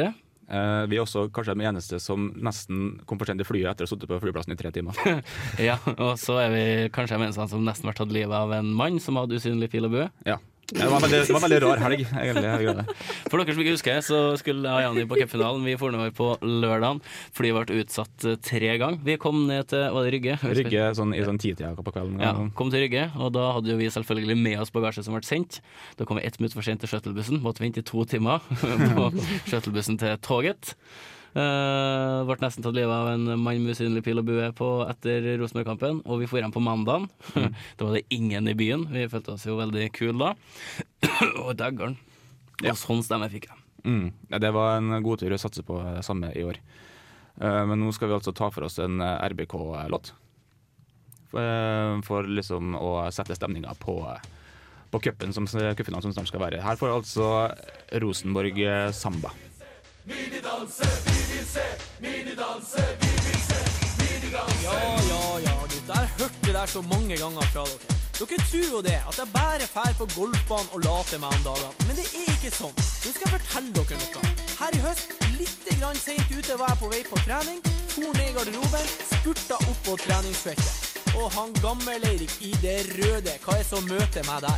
[SPEAKER 5] Eh, vi er også kanskje de eneste som nesten kom for sent i flyet etter å ha sittet på flyplassen i tre (laughs) timer.
[SPEAKER 4] Ja, og så er vi kanskje de eneste som nesten ble tatt livet av en mann som hadde usynlig pil og bue.
[SPEAKER 5] Ja. Det var, en veldig, det var en veldig rar helg. egentlig, jeg gjorde det.
[SPEAKER 4] For dere som ikke husker, så skulle jeg og Janni på cupfinalen. Vi for nedover på lørdagen. Flyet ble utsatt eh, tre ganger. Vi kom ned til var det Rygge.
[SPEAKER 5] Rygge sånn, i sånn titida på kvelden.
[SPEAKER 4] Ja, kom til Rygge, og da hadde jo vi selvfølgelig med oss bagasje som ble sendt. Da kom vi ett minutt for sent til shuttlebussen, måtte vente i to timer (laughs) på shuttlebussen til toget. Eh, ble nesten tatt livet av en mann med usynlig pil og bue på etter Rosenborg-kampen, og vi dro hjem på mandagen. (laughs) Da var det ingen i byen, vi følte oss jo veldig kule da. (clears throat) og daggeren. Og sånn stemme fikk jeg.
[SPEAKER 5] Mm. Ja, det var en god tur å satse på det samme eh, i år. Eh, Men nå skal vi altså ta for oss en RBK-låt. For, eh, for liksom å sette stemninga på, eh, på cupen som, cupfinalen som snart skal være. Her får altså Rosenborg eh, samba.
[SPEAKER 13] Minidanse, vi vil se. Minidanse, vi vil se. Minidanse.
[SPEAKER 14] Ja, ja, ja, gutt. Jeg har hørt det der så mange ganger fra dere. Dere tror jo det, at jeg bare fær på golfbanen og later meg om dagene. Men det er ikke sånn. Nå skal jeg fortelle dere noe. Her i høst, litt grann sent ute, var jeg på vei på trening. For ned i garderoben, spurta opp på treningsfeltet. Og han gammel-Eirik i det røde, hva er det som møter meg der?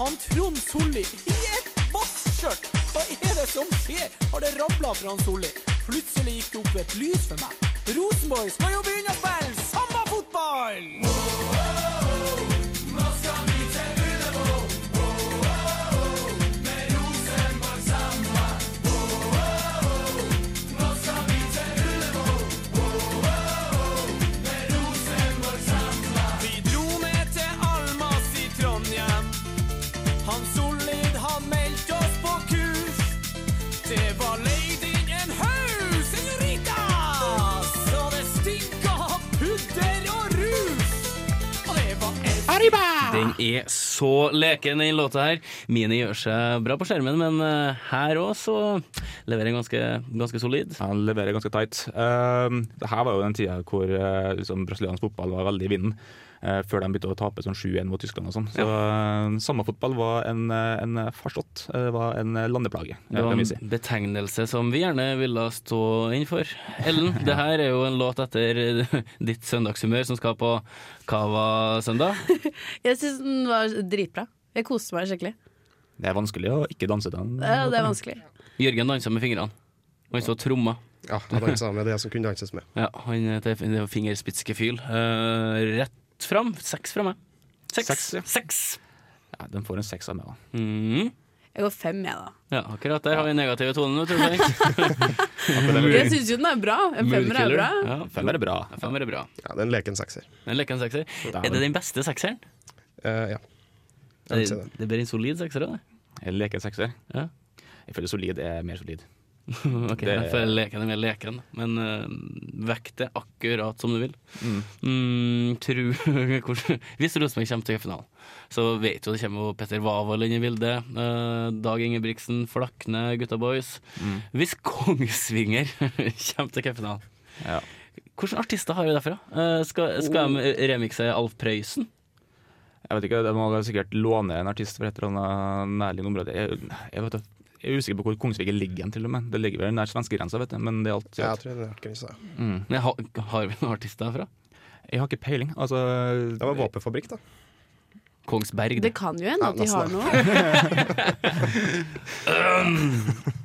[SPEAKER 14] Han Trond Solli i et vaskskjørt! Hva er det som skjer? Har det rabla fra han Solli? Plutselig gikk det opp et lys for meg. Rosenborg skal jo begynne å spille sambafotball! Vi dro med til Almas i Trondheim. Han Solid han meldte oss på kurs. Det var leid inn en haug senoritas, så det stinka av pudder og rus. Og det var en
[SPEAKER 4] Den er så leken, den låta her. Mini gjør seg bra på skjermen, men eh, her òg så leverer den ganske, ganske solid.
[SPEAKER 5] Han leverer ganske tight. Um, det her var jo den tida hvor eh, liksom, brasiliansk fotball var veldig i vinden. eh, før de begynte å tape sånn 7-1 mot Tyskland og sånn. Så eh, sambafotball var en, eh, en farsott. eh, var en eh, landeplage. eh,
[SPEAKER 4] Det var
[SPEAKER 5] kan vi si.
[SPEAKER 4] en betegnelse som vi gjerne ville stå inn for. (laughs) Ellen, det her er jo en låt etter (laughs) ditt søndagshumør som skal på Cava søndag.
[SPEAKER 8] Jeg syns den var dritbra. Jeg koste meg skikkelig.
[SPEAKER 5] Det er vanskelig å ikke danse til den.
[SPEAKER 8] Ja, det er vanskelig.
[SPEAKER 4] Jørgen dansa med fingrene. Han så tromma.
[SPEAKER 6] Ja, han dansa med det som kunne danses med.
[SPEAKER 4] Ja, han eh, det er fingerspitzgefühl. Eh, rett fram. Seks fra meg. Seks. Seks.
[SPEAKER 5] Ja, den får en seks av meg, da.
[SPEAKER 4] Mhm.
[SPEAKER 8] Jeg går fem, jeg, da.
[SPEAKER 4] Ja, akkurat der har vi negative tonen, vet du. (laughs) Fredrik.
[SPEAKER 8] Jeg syns jo den er bra. En femmer er bra.
[SPEAKER 4] Ja,
[SPEAKER 5] femmer er bra.
[SPEAKER 4] Ja, femmer er bra.
[SPEAKER 6] Ja, det er en leken sekser.
[SPEAKER 4] En lekken sekser. Er det den beste sekseren?
[SPEAKER 6] Eh, ja. Jeg vil
[SPEAKER 4] Det,
[SPEAKER 6] si det.
[SPEAKER 4] det blir en solid sekser av det.
[SPEAKER 5] En leken sekser.
[SPEAKER 4] Ja.
[SPEAKER 5] Jeg føler solid er mer solid.
[SPEAKER 4] Mm, Ok,
[SPEAKER 5] Det-
[SPEAKER 4] jeg føler leken er mer leken, men uh, vekt det akkurat som du vil.
[SPEAKER 5] Mm.
[SPEAKER 4] Mm, tru, (laughs) hvordan- hvis Rosenborg kommer til finalen, så vet jo det kommer jo Petter Wavold inn i bildet. eh, Dag Ingebrigtsen, Flakne, Gutta Boys.
[SPEAKER 5] Mm.
[SPEAKER 4] Hvis Kongsvinger (laughs) kommer til cupfinalen,
[SPEAKER 5] Ja.
[SPEAKER 4] hvilke artister har vi derfra? Eh, skal, skal de remikse Alf Prøysen?
[SPEAKER 5] Jeg vet ikke, De må sikkert låne en artist fra et eller annet nærliggende område. Jeg, jeg, vet, da- jeg er usikker på hvor Kongsvinger ligger hen, til og med. Det ligger vel nær svenskegrensa, vet du. Men det er alt.
[SPEAKER 6] Ja, jeg tror det er grensa.
[SPEAKER 5] Mm.
[SPEAKER 4] Men har, har vi noen artister derfra?
[SPEAKER 5] Jeg har ikke peiling. Altså
[SPEAKER 6] Det var våpenfabrikk, da.
[SPEAKER 4] Kongsberg,
[SPEAKER 8] Det kan jo hende at
[SPEAKER 4] altså.
[SPEAKER 8] de har noe.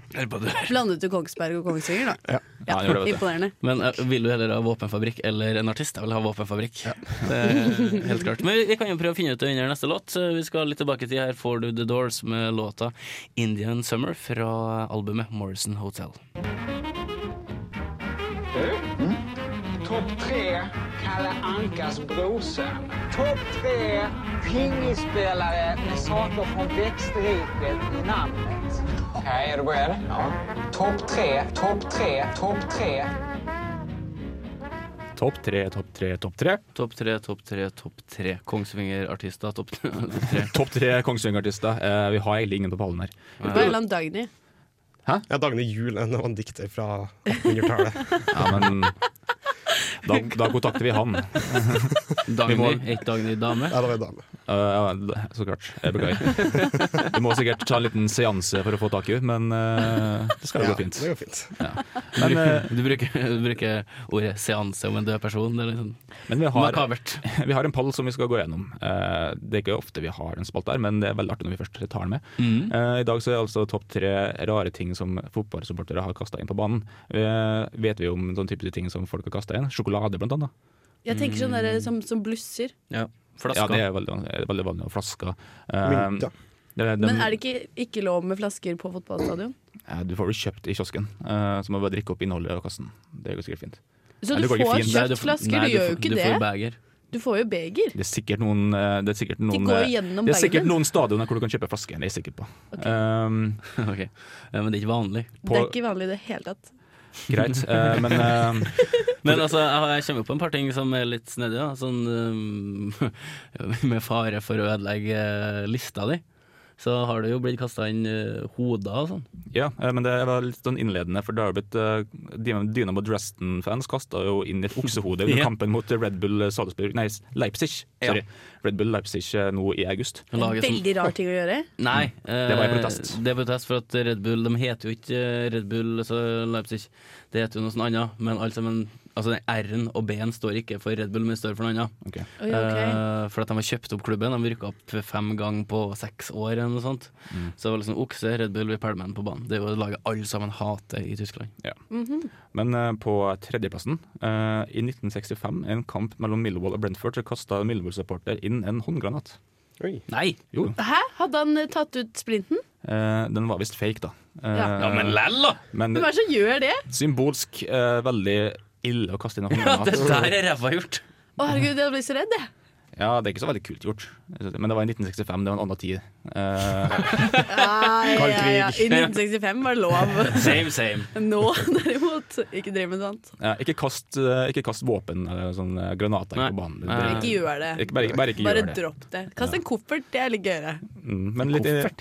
[SPEAKER 4] Hør på det der.
[SPEAKER 8] Blandet du Kongsberg og Kongsvinger, da? Ja,
[SPEAKER 4] Ja, han gjorde det, vet du.
[SPEAKER 8] imponerende.
[SPEAKER 4] Men eh, vil du heller ha våpenfabrikk eller en artist? Jeg vil ha våpenfabrikk. Det er helt klart. Men vi- vi kan jo prøve å finne ut det under neste låt. Eh, Vi skal litt tilbake til her får du The Doors med låta Indian Summer fra albumet Morrison Hotel.
[SPEAKER 15] Topp tre Kalle Ankas brorson. Topp tre pingisspelare med saker från växtriket i namnet. Okej, är du beredd? Ja. Topp tre, topp tre, topp tre.
[SPEAKER 5] Topp tre, topp tre, topp tre.
[SPEAKER 4] Topp tre, topp tre, topp tre. Kongsvinger-artister, topp
[SPEAKER 8] (laughs)
[SPEAKER 4] tre.
[SPEAKER 5] Topp tre Kongsvinger-artister. Eh, vi har egentlig ingen på pallen her.
[SPEAKER 8] Det var en eller annen Dagny.
[SPEAKER 5] Hæ?
[SPEAKER 6] Ja, Dagny Juel, en en dikter fra (laughs) 1800-tallet.
[SPEAKER 5] Ja, men da, da kontakter vi han. Vi må-
[SPEAKER 4] Dagny, ikke Dagny dame.
[SPEAKER 6] Ja, det var en dame.
[SPEAKER 5] Eh, ja, d- så klart. Jeg beklager. Vi må sikkert ta en liten seanse for å få tak i henne, men eh, det skal jo
[SPEAKER 6] Ja,
[SPEAKER 5] gå fint.
[SPEAKER 6] det går fint.
[SPEAKER 4] Du
[SPEAKER 5] Men,
[SPEAKER 4] bruker,
[SPEAKER 5] eh,
[SPEAKER 4] du bruker, du bruker ordet seanse om en død person. Det er litt sånn
[SPEAKER 5] Men vi har,
[SPEAKER 4] makabert.
[SPEAKER 5] vi har en pall som vi skal gå gjennom. Eh, det er ikke ofte vi har en spalte her, men det er veldig artig når vi først tar den med.
[SPEAKER 4] Mm.
[SPEAKER 5] Eh, I dag så er det altså topp tre rare ting som fotballsupportere har kasta inn på banen. Eh, vet vi om sånne type ting som folk har kasta inn? Sjokolade, blant annet.
[SPEAKER 8] Jeg tenker sånn der som, som blusser.
[SPEAKER 4] Ja,
[SPEAKER 5] Mm. Ja, det er veldig, det er veldig vanlig. Og flasker. Eh,
[SPEAKER 6] Mynter.
[SPEAKER 5] det er-
[SPEAKER 8] Men er det ikke, ikke lov med flasker på fotballstadion?
[SPEAKER 5] Ja, Du får det kjøpt i kiosken, eh, så må du bare drikke opp innholdet og kasten. Det går sikkert fint.
[SPEAKER 8] Så
[SPEAKER 5] Nei,
[SPEAKER 8] du
[SPEAKER 5] det går ikke
[SPEAKER 8] får
[SPEAKER 5] fint.
[SPEAKER 8] kjøpt Nei, du får- flasker, nei, du du gjør jo får- ikke du får det.
[SPEAKER 4] beger.
[SPEAKER 8] Du får jo beger.
[SPEAKER 5] Det er sikkert noen eh, Det er sikkert noen,
[SPEAKER 8] går
[SPEAKER 5] eh,
[SPEAKER 8] gjennom
[SPEAKER 5] det er sikkert
[SPEAKER 8] bagen.
[SPEAKER 5] noen stadioner hvor du kan kjøpe flasker, det er jeg sikker på.
[SPEAKER 8] (laughs) Ok.
[SPEAKER 5] Um,
[SPEAKER 4] men det er ikke vanlig.
[SPEAKER 8] det er ikke vanlig i det hele tatt. (laughs)
[SPEAKER 5] Greit, eh, men eh,
[SPEAKER 4] Men altså, jeg, har- jeg kommer jo på en par ting som er litt snedige, da. Sånn um, (laughs) med fare for å ødelegge eh, lista di. Så har det jo blitt kasta inn eh, hoder og sånn.
[SPEAKER 5] Ja, eh, men det var litt sånn innledende, for det har blitt eh, Dyn- Dynamo Dresden-fans kasta jo inn et oksehode under
[SPEAKER 4] Ja.
[SPEAKER 5] kampen mot Red Bull Salzburg Nei, Leipzig. Sorry. Red Bull Leipzig eh, nå i august.
[SPEAKER 8] Veldig rar ting å gjøre.
[SPEAKER 4] Nei.
[SPEAKER 5] Det var i
[SPEAKER 4] eh,
[SPEAKER 5] protest.
[SPEAKER 4] Det er protest for at Red Bull De heter jo ikke eh, Red Bull altså Leipzig, det heter jo noe sånt annet. Men alt sammen, altså den R-en og B-en står ikke for Red Bull, men står for noe annet.
[SPEAKER 8] Oi, ok.
[SPEAKER 4] Eh, for at de har kjøpt opp klubben. De rykka opp fem ganger på seks år eller noe sånt.
[SPEAKER 5] Mm.
[SPEAKER 4] Så det var liksom okse, Red Bull, vi pælmer den på banen. Det er jo det laget alle sammen hater i Tyskland.
[SPEAKER 5] Ja. Men eh, på tredjeplassen, eh, i 1965, en kamp mellom Millwall og Brentford, så kasta Millwall-supporter inn en håndgranat.
[SPEAKER 4] Nei!
[SPEAKER 5] Jo,
[SPEAKER 8] Hæ? Hadde han eh, tatt ut splinten?
[SPEAKER 5] eh, den var visst fake, da. Eh,
[SPEAKER 8] Ja. Ja,
[SPEAKER 4] men lell, da!
[SPEAKER 5] men
[SPEAKER 8] Hvem er det som gjør det?
[SPEAKER 5] symbolsk eh, veldig ille å
[SPEAKER 4] (laughs)
[SPEAKER 5] kaste inn altså. en
[SPEAKER 4] Ja,
[SPEAKER 5] håndgranat.
[SPEAKER 4] det der er ræva gjort!
[SPEAKER 8] Å herregud, jeg blir så redd, jeg.
[SPEAKER 5] Ja, det er ikke så veldig kult gjort. Men det var i 1965, det var en annen tid. Eh,
[SPEAKER 8] Nei,
[SPEAKER 5] Kald
[SPEAKER 8] ja,
[SPEAKER 5] krig.
[SPEAKER 8] ja. I 1965 var det
[SPEAKER 5] (laughs)
[SPEAKER 8] lov.
[SPEAKER 5] Same, same.
[SPEAKER 8] Nå, derimot, ikke driv med sånt.
[SPEAKER 5] Eh, ikke, kast, eh, ikke kast våpen eller sånn eh, granater på banen.
[SPEAKER 8] Ikke gjør det.
[SPEAKER 5] Ikke, bare, bare ikke
[SPEAKER 8] Bare
[SPEAKER 5] gjør det.
[SPEAKER 8] dropp det. Kast en koffert, det er litt gøyere.
[SPEAKER 5] Mm, men litt, i-
[SPEAKER 8] For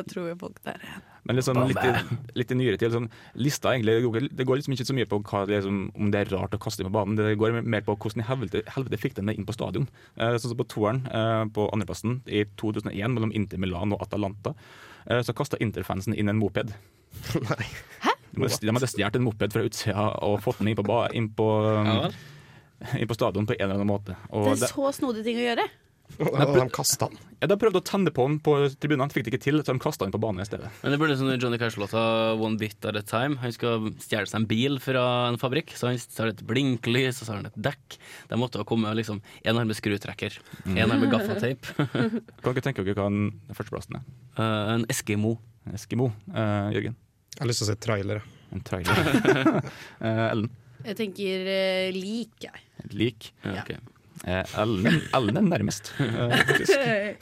[SPEAKER 8] da tror jo folk det er
[SPEAKER 5] men litt, sånn, litt, i- litt i nyere tid. Sånn, lista egentlig, det går ikke- det går liksom ikke så mye på hva, det er som- om det er rart å kaste inn på banen. Det går mer på hvordan i helvete, helvete fikk de det inn på stadion. Eh, sånn som på toeren eh, på andreplassen i 2001 mellom Inter Milan og Atalanta, eh, så kasta Inter-fansen inn en moped. De hadde- de hadde stjålet en moped fra utsida og fått den inn på, ba, inn på, um, inn på stadion på en eller annen måte. Og
[SPEAKER 8] Det er
[SPEAKER 5] det-
[SPEAKER 8] så snodige ting å gjøre.
[SPEAKER 5] de kasta den? Ja, de prøvde å tenne på den på tribunene, fikk det ikke til, så de kasta den på banen i stedet.
[SPEAKER 4] Men det burde sånn Johnny Cash-låta 'One Bit At A Time'. Han skal stjele seg en bil fra en fabrikk, så han tar et blinklys og så har han et dekk. De måtte ha kommet med liksom, en arm med skrutrekker,
[SPEAKER 5] Mm.
[SPEAKER 4] en arm med (laughs) gaffateip.
[SPEAKER 5] Kan dere tenke dere hva den førsteplassen er?
[SPEAKER 4] Eh, en Eskimo.
[SPEAKER 5] Eskimo, eh, Jørgen?
[SPEAKER 6] Jeg har lyst til å se trailer.
[SPEAKER 5] En trailer. (laughs) Eh, Ellen?
[SPEAKER 8] Jeg tenker eh, lik, jeg.
[SPEAKER 5] Et lik.
[SPEAKER 8] Ja.
[SPEAKER 5] Eh, Ellen, Ellen er nærmest, eh, faktisk.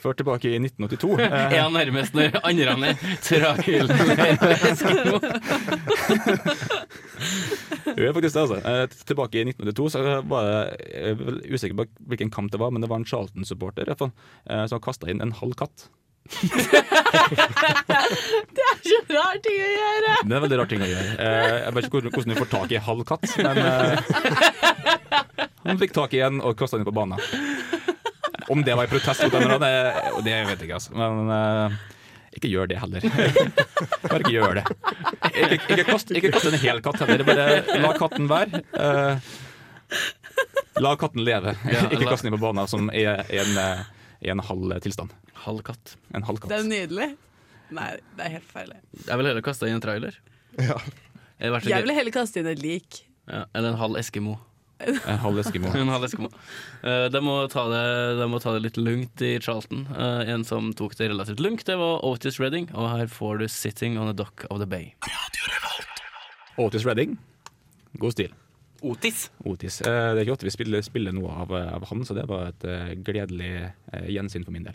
[SPEAKER 5] Ført tilbake i 1982. eh,
[SPEAKER 4] Er han nærmest når andre han er trail? Eskimo.
[SPEAKER 5] Jo, jeg er faktisk det, altså. Eh, t- Tilbake i 1982 så var det jeg er vel usikker på hvilken kamp det var, men det var en Charlton-supporter i hvert fall, eh, som kasta inn en halv katt.
[SPEAKER 8] Det er så rar ting å gjøre!
[SPEAKER 5] Det er en veldig rar ting å gjøre. Eh, Jeg vet ikke hvordan- hvordan du får tak i en halv katt, men eh, han fikk tak i en og kasta den inn på banen. Om det var i protest mot hverandre, det, det vet jeg ikke, altså. Men eh, ikke gjør det heller. Bare ikke gjør det. Ikke, ikke, kast, ikke kast en hel katt heller, bare la katten være. Eh, la katten leve.
[SPEAKER 4] Ja,
[SPEAKER 5] ikke
[SPEAKER 4] la-
[SPEAKER 5] kast den inn på banen, som er i en, eh, i en halv tilstand.
[SPEAKER 4] Halv katt.
[SPEAKER 5] En halv
[SPEAKER 8] Det
[SPEAKER 5] katt.
[SPEAKER 8] er nydelig. Nei, det er helt feil.
[SPEAKER 4] Jeg ville heller kasta inn en trailer. Eller vært så
[SPEAKER 8] Jeg
[SPEAKER 4] gøy.
[SPEAKER 8] ville heller kaste inn et lik.
[SPEAKER 4] Ja, eller en halv Eskimo. (laughs)
[SPEAKER 5] En halv Eskimo.
[SPEAKER 4] en halv Eskimo. Eh, de, må ta det, de må ta det litt lungt i Charlton. Eh, en som tok det relativt lungt, det var Otis Redding, og her får du 'Sitting on a Dock of the Bay'.
[SPEAKER 5] Otis Redding, god stil.
[SPEAKER 4] Otis.
[SPEAKER 5] Otis. Eh, Det er ikke ofte vi spiller, spiller noe av, eh, av han, så det var et eh, gledelig eh, gjensyn for min del.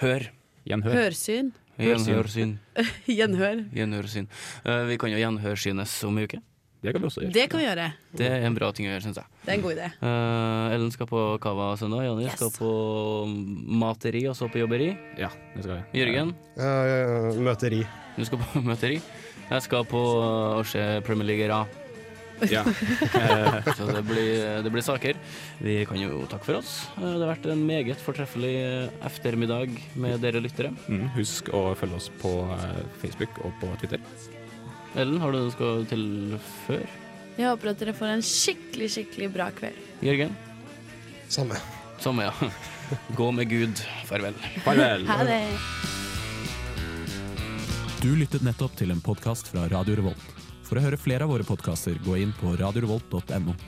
[SPEAKER 4] Hør.
[SPEAKER 5] Gjenhør.
[SPEAKER 8] Hørsyn.
[SPEAKER 4] Gjenhørsyn.
[SPEAKER 8] Gjenhør.
[SPEAKER 4] Gjenhørsyn. Eh, vi kan jo gjenhørsynes om ei uke.
[SPEAKER 5] Det kan vi også
[SPEAKER 8] Det kan vi gjøre.
[SPEAKER 4] Det er en bra ting å gjøre, syns jeg.
[SPEAKER 8] Det er en god idé.
[SPEAKER 4] Eh, Ellen skal på Cava søndag. Jonny skal på materi og så på jobberi.
[SPEAKER 5] Ja, det skal jeg.
[SPEAKER 4] Jørgen?
[SPEAKER 6] Eh, møteri.
[SPEAKER 4] Du skal på (laughs) møteri? Jeg skal på eh, å se Premier League RA.
[SPEAKER 5] Ja.
[SPEAKER 4] Eh, Så det blir, det blir saker. Vi kan jo takke for oss. Eh, Det har vært en meget fortreffelig eh, eftermiddag med dere lyttere.
[SPEAKER 5] Mm, husk å følge oss på eh, Facebook og på Twitter.
[SPEAKER 4] Ellen, har du noe du skal tilføre?
[SPEAKER 8] Jeg håper at dere får en skikkelig, skikkelig bra kveld.
[SPEAKER 4] Jørgen?
[SPEAKER 6] Samme.
[SPEAKER 4] Samme, ja. (laughs) Gå med Gud. Farvel.
[SPEAKER 8] Ha det.
[SPEAKER 16] Du lyttet nettopp til en podkast fra Radio Revolt. For å høre flere av våre podkaster, gå inn på radiorevolt.no.